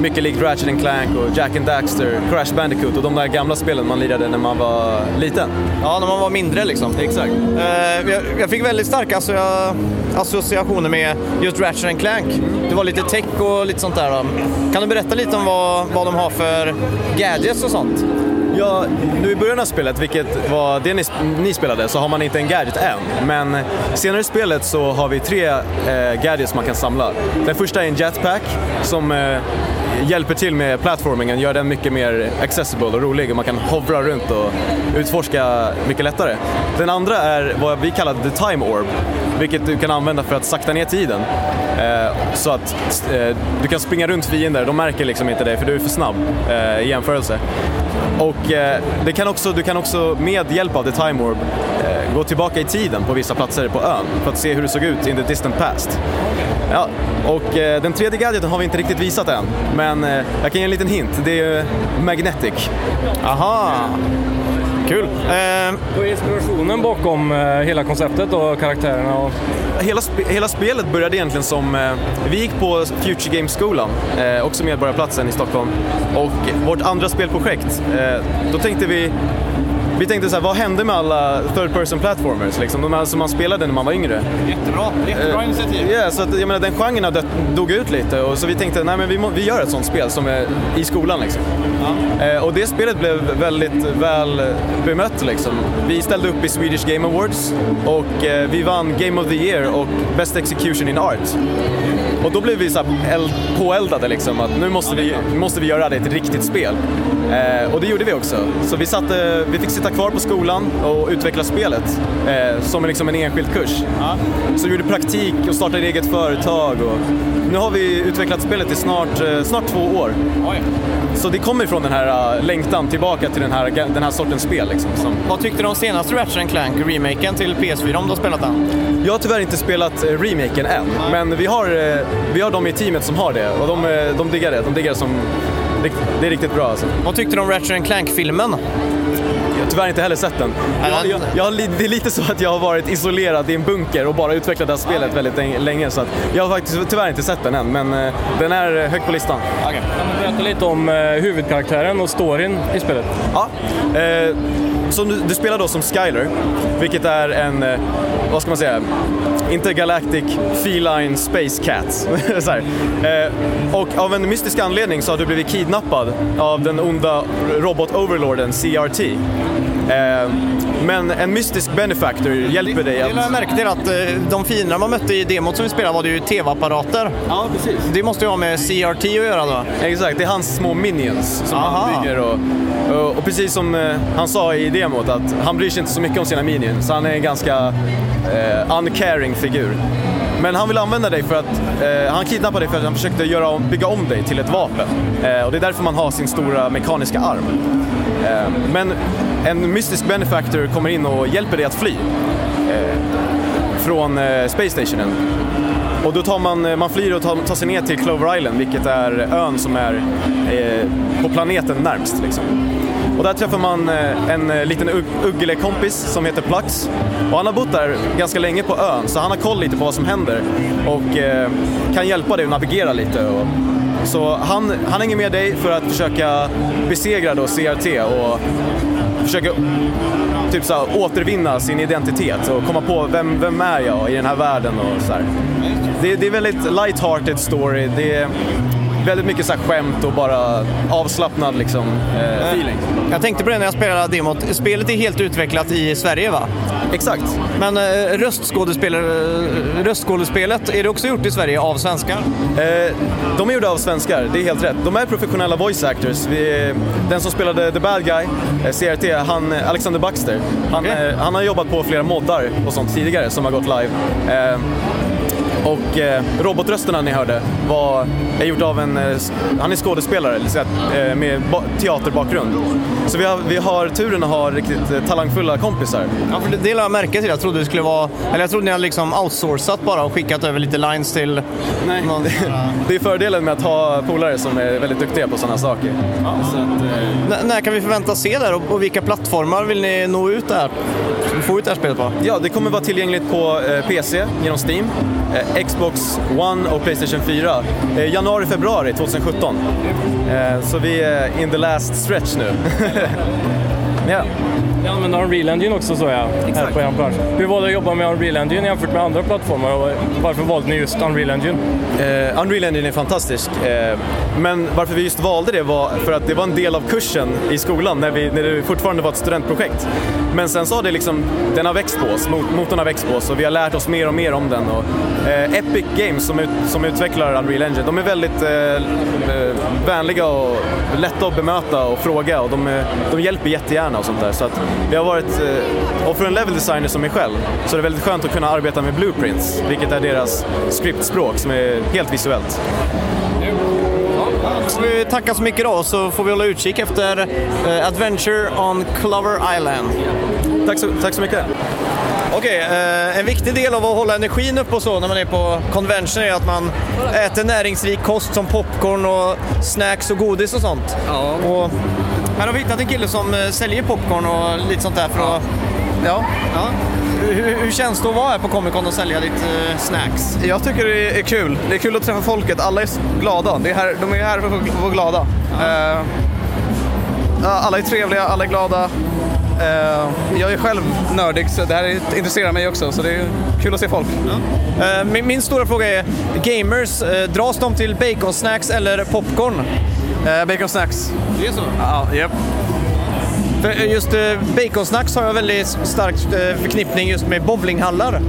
Mycket likt Ratchet and Clank och Jack and Daxter, Crash Bandicoot och de där gamla spelen man lirade när man var liten. Ja, när man var mindre liksom. Exakt. Eh, jag, jag fick väldigt starka associa- associationer med just Ratchet and Clank. Det var lite tech och lite sånt där. Då. Kan du berätta lite om vad, vad de har för gadgets och sånt? Ja, nu i början av spelet, vilket var det ni, sp- ni spelade, så har man inte en gadget än. Men senare i spelet så har vi tre eh, gadgets man kan samla. Den första är en jetpack som eh, hjälper till med platformingen, gör den mycket mer accessible och rolig och man kan hovra runt och utforska mycket lättare. Den andra är vad vi kallar the time orb, vilket du kan använda för att sakta ner tiden. Eh, så att eh, du kan springa runt fiender, de märker liksom inte dig för du är för snabb eh, i jämförelse. Och eh, det kan också, du kan också med hjälp av The Time Orb eh, gå tillbaka i tiden på vissa platser på ön för att se hur det såg ut in the distant past. Ja, och eh, den tredje gadgeten har vi inte riktigt visat än, men eh, jag kan ge en liten hint. Det är eh, Magnetic. Aha! Kul! Eh, Och inspirationen bakom eh, hela konceptet och karaktärerna och Hela, sp- hela spelet började egentligen som, eh, vi gick på Future Games-skolan, eh, också Medborgarplatsen i Stockholm, och vårt andra spelprojekt, eh, då tänkte vi, vi tänkte så här, vad hände med alla third person platformers, liksom, de här som man spelade när man var yngre? jättebra, jättebra initiativ. Ja, så att, jag menar den genren har dött, dog ut lite och så vi tänkte nej men vi, må, vi gör ett sånt spel som är i skolan liksom. Eh, och det spelet blev väldigt väl bemött liksom. Vi ställde upp i Swedish Game Awards och eh, vi vann Game of the Year och Best Execution in Art. Och då blev vi så här eld, påeldade liksom att nu måste vi, måste vi göra det till ett riktigt spel. Eh, och det gjorde vi också. Så vi, satte, vi fick sitta kvar på skolan och utveckla spelet eh, som liksom en enskild kurs. Så vi gjorde praktik och startade eget företag. Och nu har vi utvecklat spelet i snart, eh, snart två år. Så det kommer från den här eh, längtan tillbaka till den här, den här sortens spel. Liksom, som, Vad tyckte du om senaste Ratchet and Clank, remaken till PS4 om du har spelat den? Jag har tyvärr inte spelat eh, remaken än, men vi har, eh, vi har de i teamet som har det och de, eh, de diggar det. De diggar det som... rikt- Det är riktigt bra alltså. Vad tyckte du om Ratchet and Clank-filmen? Jag har tyvärr inte heller sett den. Jag, jag, jag, har li- det är lite så att jag har varit isolerad i en bunker och bara utvecklat det här spelet väldigt länge- länge så att jag har faktiskt tyvärr inte sett den än, men eh, den är eh, högt på listan. berätta lite om eh, huvudkaraktären och storyn i spelet. Ja. Eh, som du, du spelar då som Skyler, vilket är en, eh, vad ska man säga, intergalactic feline space cat. så här. Eh, och av en mystisk anledning så har du blivit kidnappad av den onda robot-overlorden CRT. Eh, men en mystisk benefactor hjälper dig Jag lade att... märke till att eh, de fiender man mötte i demot som vi spelade var det ju tv-apparater. Ja, precis. Det måste ju ha med CRT att göra då. Exakt, det är hans små minions som Aha. han bygger. Och, och, och precis som eh, han sa i demot, att han bryr sig inte så mycket om sina minions. Han är en ganska eh, uncaring figur. Men han vill använda dig för att, eh, han kidnappade dig för att han försökte göra, om- bygga om dig till ett vapen. Eh, och det är därför man har sin stora mekaniska arm. Eh, men en mystisk benefactor kommer in och hjälper dig att fly. Eh, från eh, space stationen. Och då tar man, man flyr och tar, tar sig ner till Clover Island, vilket är ön som är eh, på planeten närmst. Liksom. Och där träffar man eh, en eh, liten ugg- ugglekompis som heter Plux. Och han har bott där ganska länge på ön, så han har koll lite på vad som händer och eh, kan hjälpa dig att navigera lite. Och, så han, han hänger med dig för att försöka besegra då CRT och försöker typ så här, återvinna sin identitet och komma på vem, vem är jag i den här världen och så här. Det, det är väldigt light-hearted story. Det är väldigt mycket så här skämt och bara avslappnad liksom. Eh, feeling. Jag tänkte på det när jag spelade demot. Spelet är helt utvecklat i Sverige va? Exakt. Men eh, röstskådespelare- eh, röstskådespelet, är det också gjort i Sverige av svenskar? Eh, de är gjorda av svenskar, det är helt rätt. De är professionella voice actors. Vi, den som spelade The Bad Guy, eh, CRT, han, eh, Alexander Baxter, han, eh, han har jobbat på flera moddar och sånt tidigare som har gått live. Eh, och eh, robotrösterna ni hörde var är gjort av en, eh, s- han är skådespelare så att, eh, med ba- teaterbakgrund. Så vi har, vi har turen att ha riktigt eh, talangfulla kompisar. Ja, för det, det lade jag märke till. Jag trodde det skulle vara... Eller jag trodde ni hade liksom outsourcat bara och skickat över lite lines till... Nej. Någon, Det är fördelen med att ha polare som är väldigt duktiga på sådana saker. Så att, eh, N- när kan vi förvänta se det här och, och vilka plattformar vill ni nå ut det här? Få ut det här spelet på? Ja, det kommer vara tillgängligt på eh, PC genom Steam, eh, Xbox One och Playstation 4. Eh, Januari, februari 2017. Eh, Så vi är in the last stretch nu. ja. Ni använder Unreal Engine också så jag, här på er bransch. Hur var det att jobba med Unreal Engine jämfört med andra plattformar och varför valde ni just Unreal Engine? Eh, Unreal Engine är fantastisk, eh, men varför vi just valde det var för att det var en del av kursen i skolan när, vi, när det fortfarande var ett studentprojekt. Men sen så har det liksom, den har växt på oss, mot- motorn har växt på oss och vi har lärt oss mer och mer om den. Och, eh, Epic Games som, ut, som utvecklar Unreal Engine, de är väldigt eh, eh, vänliga och lätta att bemöta och fråga och de, eh, de hjälper jättegärna och sånt där. Så att vi har varit, eh, och för en level designer som mig själv, så är det väldigt skönt att kunna arbeta med blueprints, vilket är deras skriptspråk som är helt visuellt. Får vi tacka så mycket då och så får vi hålla utkik efter eh, Adventure on Clover Island. Tack så, tack så mycket. Okej, eh, en viktig del av att hålla energin uppe och så när man är på convention är att man äter näringsrik kost som popcorn och snacks och godis och sånt. Och här har vi hittat en kille som eh, säljer popcorn och lite sånt där för att... Ja. ja. Hur, hur känns det att vara här på Comic Con och sälja lite eh, snacks? Jag tycker det är kul. Det är kul att träffa folket. Alla är så glada. Det är här, de är här för att vara glada. Eh, ja, alla är trevliga, alla är glada. Eh, jag är själv nördig så det här är- intresserar mig också. Så det är kul att se folk. Eh, min, min stora fråga är, gamers, eh, dras de till baconsnacks eller popcorn? Eh, bacon snacks. Det är så. Ja, japp. För eh, just eh, baconsnacks har jag väldigt stark eh, förknippning just med bowlinghallar.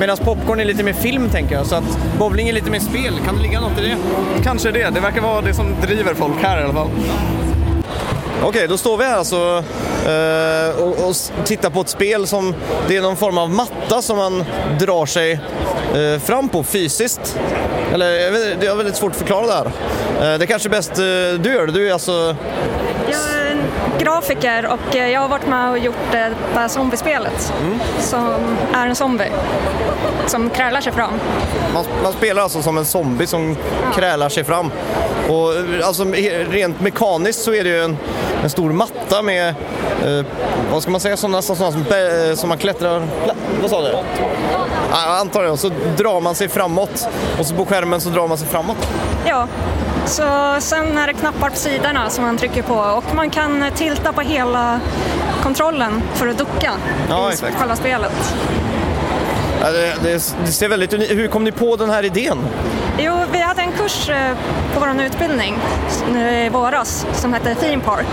Medan popcorn är lite mer film tänker jag, så att bowling är lite mer spel. Kan det ligga något i det? Kanske det. Det verkar vara det som driver folk här i alla fall. Okej, då står vi här alltså eh, och, och s- tittar på ett spel som det är någon form av matta som man drar sig eh, fram på fysiskt. Eller jag vet, inte, det är väldigt svårt att förklara det här. Eh, det är kanske är bäst eh, du gör det. Du är alltså... Jag är en grafiker och eh, jag har varit med och gjort det där zombiespelet Mm. som är en zombie som krälar sig fram. Man, man spelar alltså som en zombie som krälar sig fram. Och eh, alltså, he- rent mekaniskt så är det ju en, en stor matta med, eh, vad ska man säga, sådana, sådana som, bä- eh, som man klättrar... Klä, vad sa du? Ja, antar jag. Så drar man sig framåt och så på skärmen så drar man sig framåt. Ja, så sen är det knappar på sidorna som man trycker på och man kan eh, tilta på hela kontrollen för att ducka Ja, i exakt. själva spelet. Ja, det, det, det ser väldigt unikt Hur kom ni på den här idén? Jo, vi hade en kurs eh, på vår utbildning nu i våras som hette Theme Park.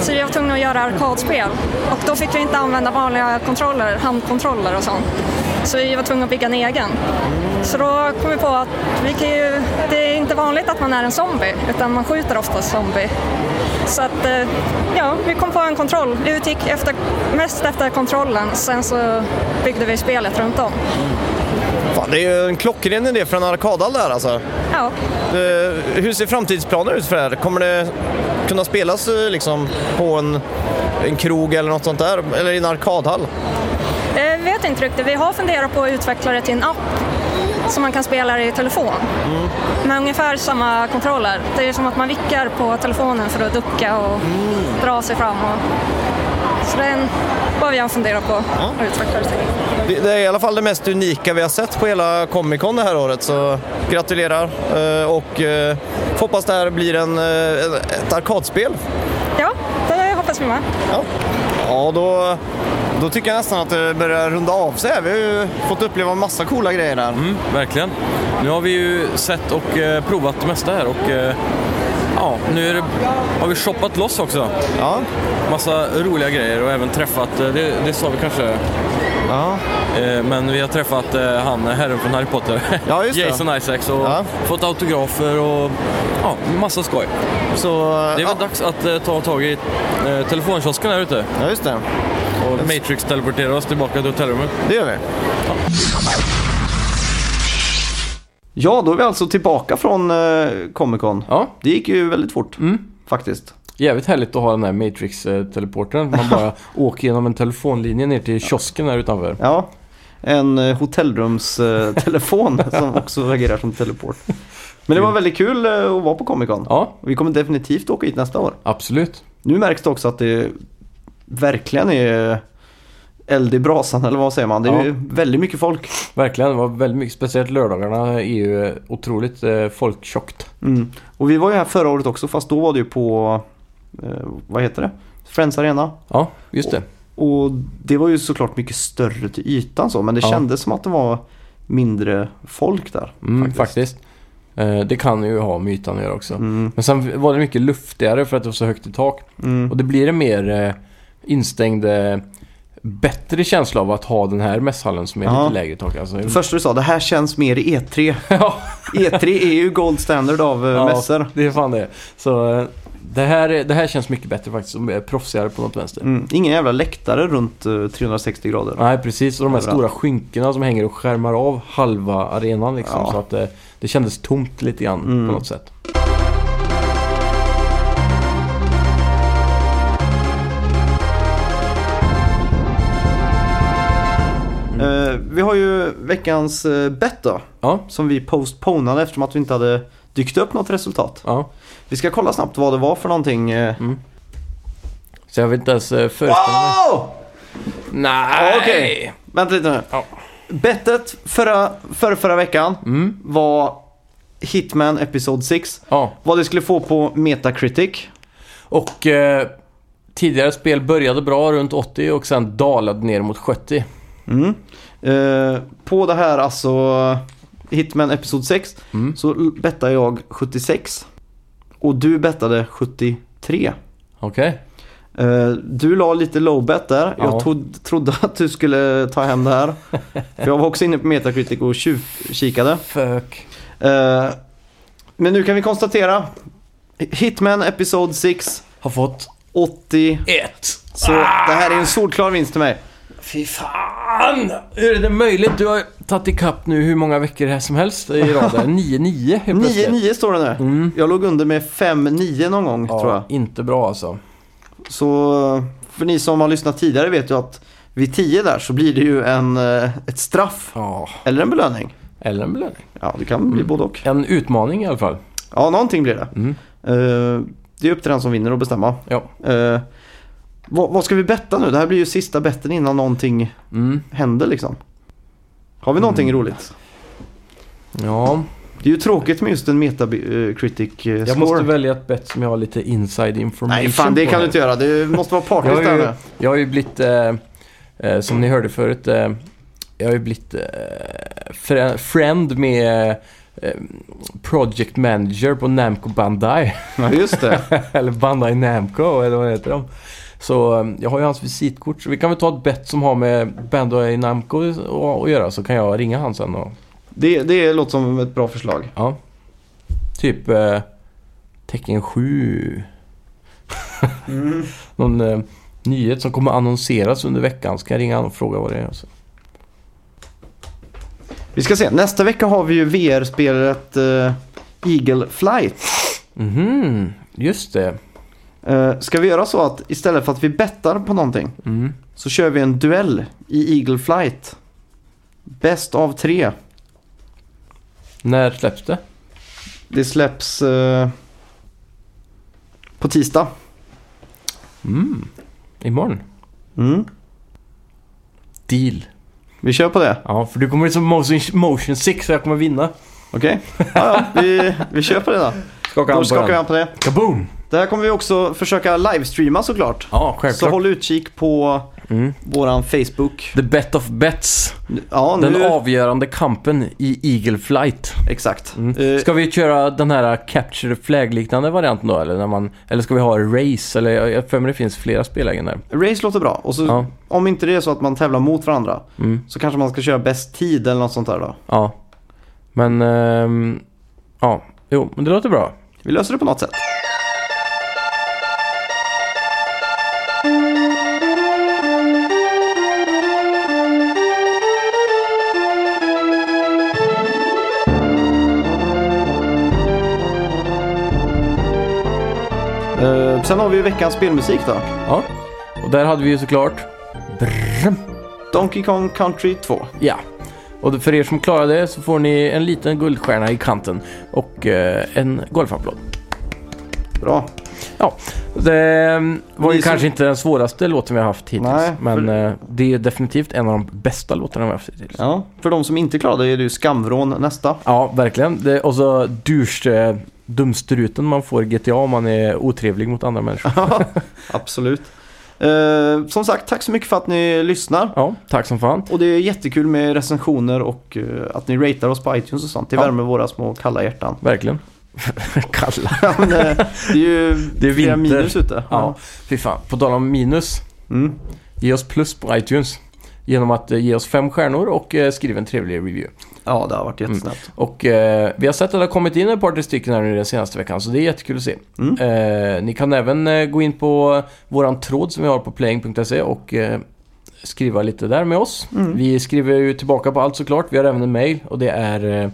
Så vi var tvungna att göra arkadspel och då fick vi inte använda vanliga kontroller, handkontroller och sånt. Så vi var tvungna att bygga en egen. Så då kom vi på att vi kan ju, det är inte vanligt att man är en zombie utan man skjuter oftast zombie. Så att, eh, ja, vi kom på en kontroll. Vi utgick efter, mest efter kontrollen, sen så byggde vi spelet runt om. Fan, det är ju en klockren idé för en arkadhall det här alltså. Ja, Eh, hur ser framtidsplaner ut för det här? Kommer det kunna spelas eh, liksom, på en, en krog eller något sånt där? Eller i en arkadhall? Jag Eh, vet inte riktigt. Vi har funderat på att utveckla det till en app som man kan spela i telefon. Med ungefär samma kontroller. Det är som att man vickar på telefonen för att ducka och dra sig fram. Och... Så det är en... vad vi har funderat på att utveckla det till. Det, det är i alla fall det mest unika vi har sett på hela Comic Con det här året. Så gratulerar eh, och eh, får hoppas det här blir en, eh, ett arkadspel. Ja, det hoppas vi med. Ja. Ja, då, då tycker jag nästan att det börjar runda av sig. här. Vi har ju fått uppleva massa coola grejer här. Mm, verkligen. Nu har vi ju sett och eh, provat det mesta här och eh, ja, nu är det, har vi shoppat loss också. Ja. Massa roliga grejer och även träffat, eh, det, det sa vi kanske, Ja. eh, men vi har träffat eh, han, herren från Harry Potter, Ja, just det. Jason Isaacs och Ja. fått autografer och ja, massa skoj. Så, Det är väl ja, dags att eh, ta tag i eh, telefonkiosken här ute ja, just det. och Matrix-teleportera oss tillbaka till hotellrummet. Det gör vi. Ja, då är vi alltså tillbaka från eh, Comic Con. Ja, Det gick ju väldigt fort, Mm. faktiskt. jävligt härligt att ha den här Matrix-teleportern. Man bara åker genom en telefonlinje ner till kiosken här utanför. Ja. En eh, hotellrumstelefon som också agerar som teleport. Men det var väldigt kul eh, att vara på Comic Con. Ja, Vi kommer definitivt åka hit nästa år. absolut. Nu märks det också att det verkligen är eld i brasan, eller vad säger man? Det är Ja. ju väldigt mycket folk. Verkligen, det var väldigt mycket. Speciellt lördagarna är ju eh, otroligt eh, folktjockt. Mm. Och vi var ju här förra året också, fast då var det ju på, eh, vad heter det? Friends Arena. Ja, just det. Och det var ju såklart mycket större till ytan så, men det Ja. kändes som att det var mindre folk där. Mm, faktiskt. faktiskt. Eh, Det kan ju ha med ytan att göra också. Mm. Men sen var det mycket luftigare för att det var så högt i tak. Och det blir en mer eh, instängd, eh, bättre känsla av att ha den här mässhallen som är Ja. lite lägre i tak. Alltså. Första du sa, det här känns mer E E3. ja, E3 är ju gold standard av eh, mässor. det är fan det. Så eh, det här, är- det här känns mycket bättre faktiskt. och mer Proffsigare på något vänster. Mm. Ingen jävla läktare runt eh, 360 grader. Nej, precis. Och de här Överallt. stora skynkena som hänger och skärmar av halva arenan liksom. Ja. Mm. Så att det, det kändes tomt lite grann på något sätt. Eh, vi har ju veckans eh, bet då, Ja. som vi postponade eftersom att vi inte hade dykt upp något resultat. Ja. Mm. Vi ska kolla snabbt vad det var för någonting. eh. Så jag vill inte ens eh, föreställa mig. Wow! Nej! Ah! Okej. Vänta lite nu. Ja. Bettet förra, förra, förra veckan Mm. var Hitman Episod 6. Ja. Vad det skulle få på Metacritic. Och eh, tidigare spel började bra runt 80 och sen dalade ner mot 70. Mm. Eh, på det här alltså Hitman Episod 6 Mm. så l- bettade jag 76. Och du bettade 73. Okej. Eh, du la lite low bet där. Ja. Jag tod, trodde att du skulle ta hem det här. För jag var också inne på Metacritic och tjuvkikade. Fuck. Eh, men nu kan vi konstatera. Hitman Episod 6, Har fått 80. ett. Så det här är en solklar vinst till mig. Fy fan! Hur är det möjligt? Du har tagit ikapp nu hur många veckor här som helst i rad. där. 9-9 helt plötsligt. 9-9 står det nu. Mm. Jag låg under med 5-9 någon gång tror jag. Ja, inte bra alltså. Så eh, för ni som har lyssnat tidigare vet ju att vid 10 där så blir det ju en, eh, ett straff Ja, eller en belöning. eller en belöning. Ja, det kan bli Mm. både och. En utmaning i alla fall. Ja, någonting blir det. Mm. Eh, det är upp till den som vinner att bestämma. Ja. Eh, vad, vad ska vi betta nu? Det här blir ju sista betten innan någonting Mm. händer liksom. Har vi någonting roligt? Ja, Det är ju tråkigt med just en metacritic eh, score. jag måste välja ett bett som jag har lite inside information Nej fan, det på kan du här. inte göra. Det måste vara Jag har partiskt där ju, nu. jag har ju blivit, eh, eh, som ni hörde förut, eh, jag har ju blivit eh, fre- friend med eh, Project Manager på Namco Bandai. Ja, just det. eller Bandai Namco, eller vad heter de? Så eh, jag har ju hans visitkort, så vi kan väl ta ett bett som har med Bandai Namco att- att göra, så kan jag ringa han sen och, det. Det låter som ett bra förslag. ja. Typ eh, Tecken 7. Någon eh, nyhet som kommer annonseras under veckan, så kan jag ringa han och fråga vad det är. Alltså. Vi ska se. Nästa vecka har vi ju VR-spelet eh, Eagle Flight. Mhm, just det. Uh, ska vi göra så att istället för att vi bettar på någonting Mm. så kör vi en duell i Eagle Flight. Bäst av tre. När släpps det? Det släpps eh, på tisdag. Mm. Imorgon. Mm. Deal. Vi kör på det. Ja, för du kommer bli som motion, motion Six så jag kommer vinna. Okej? Ja, ja, vi, vi kör på det då. Skaka Då hand på skakar vi den. an på det. Kaboom! Det här kommer vi också försöka livestreama såklart. Ja, Mm. Så självklart. håll utkik på våran Facebook. The bet of bets. Ja, nu... Den avgörande kampen i Eagle Flight. Exakt. Eh, Ska vi köra den här Capture the Flag-liknande varianten då? Eller, när man, eller ska vi ha Race? Eller jag- jag för mig det finns flera spellägen där. Race låter bra. Och så, Ja. om inte det är så att man tävlar mot varandra så kanske man ska köra bäst tid eller något sånt där då. Ja. Men, ehm, ja. Jo, men det låter bra. Vi löser det på något sätt. Eh, sen har vi ju veckans spelmusik då. Ja. Och där hade vi ju såklart... Brrm. Donkey Kong Country 2. Ja. Och för er som klarar det så får ni en liten guldstjärna i kanten och eh, en golfapplåd. Bra. Ja, det ehm, var Ni ju som- kanske inte den svåraste låten vi har haft hittills. Nej, men för- eh, det är definitivt en av de bästa låtarna vi har haft hittills. Ja, Ja, för de som inte klarade det är det ju skamvrån nästa. verkligen. Det, och så durs, eh, dumstruten man får i GTA om man är otrevlig mot andra människor. Ja, Absolut. Eh, som sagt, tack så mycket för att ni lyssnar. Ja, tack som fan. Och det är jättekul med recensioner och eh, att ni ratar oss på iTunes och sånt. Det Ja. värmer våra små kalla hjärtan. Verkligen. Kalla. Ja, men, eh, det är ju Det är flera vinter. minus ute. Ja, fy fan. På tal om minus. Mm. Ge oss plus på iTunes. Genom att eh, ge oss fem stjärnor och eh, skriva en trevlig review. ja, det har Mm. varit jättesnällt. Och eh, vi har sett att det har kommit in ett par tre stycken här nu den senaste veckan, så det är jättekul att se. Mm. Eh, ni kan även eh, gå in på våran tråd som vi har på playing.se och eh, skriva lite där med oss. Mm. Vi skriver ju tillbaka på allt såklart. Vi har även en mail och det är eh,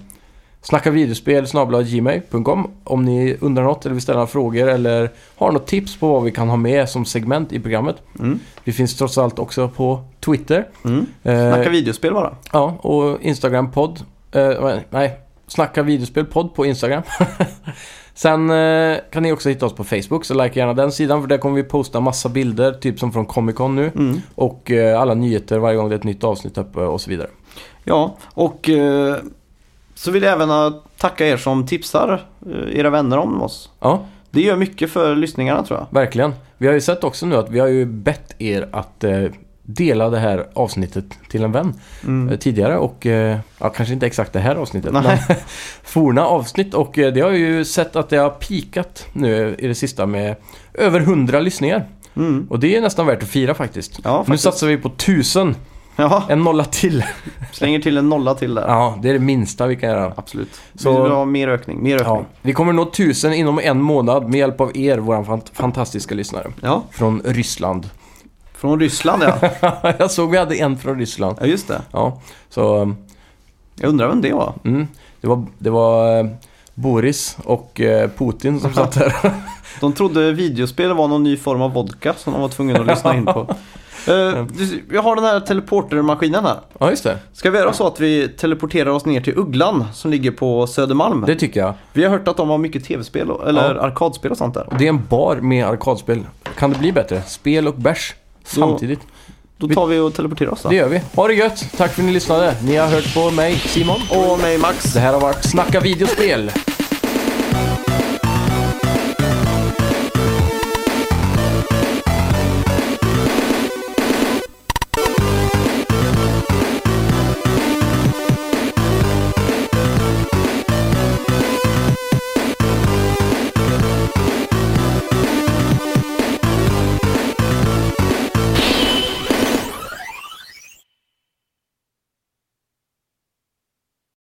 snackavideospel gmail.com om ni undrar något eller vill ställa några frågor eller har något tips på vad vi kan ha med som segment i programmet. Mm. Vi finns trots allt också på Twitter. Mm. Eh, Snacka videospel bara. Ja, och Instagram podd. Eh, nej, Snacka videospel podd på Instagram. Sen eh, kan ni också hitta oss på Facebook, så like gärna den sidan för där kommer vi posta massa bilder, typ som från Comic Con nu. Mm. Och eh, alla nyheter varje gång det är ett nytt avsnitt uppe och så vidare. Ja, och eh, så vill jag även eh, tacka er som tipsar eh, era vänner om oss. Ja, Det gör mycket för lyssningarna tror jag. verkligen. Vi har ju sett också nu att vi har ju bett er att eh, dela det här avsnittet till en vän eh, tidigare och eh, ja, kanske inte exakt det här avsnittet Mm. Nej. men forna avsnitt och eh, det har ju sett att det har pikat nu i det sista med över 100 lyssningar. Mm. Och det är nästan värt att fira faktiskt. Ja, Nu faktiskt. satsar vi på 1000, Ja, en nolla till. slänger till en nolla till där. Ja, det är det minsta vi kan göra. Absolut. Så... Så- Vi vill ha mer ökning, mer Ja, ökning. vi kommer nå 1000 inom en månad med hjälp av er, våra fant- fantastiska lyssnare. ja. Från Ryssland. Från Ryssland ja. Jag såg vi hade en från Ryssland. Ja just det. Ja, så Jag undrar vem det var. mm, det var, det var eh, Boris och eh, Putin som satt där. De trodde videospel var någon ny form av vodka som de var tvungna att lyssna in på. Eh, du- jag har den här teleportermaskinen här. Ja, just det. Ska vi göra så att vi teleporterar oss ner till Ugglan som ligger på Södermalm? Det tycker jag. Vi har hört att de har mycket tv-spel och- eller Ja. arkadspel och sånt där. Det är en bar med arkadspel. Kan det bli bättre? Spel och bärs samtidigt. Då tar vi och teleporterar oss då. Det gör vi. Ha det gött! Tack för att ni lyssnade. Ni har hört på mig, Simon. Och mig Max. Det här har varit Snacka videospel.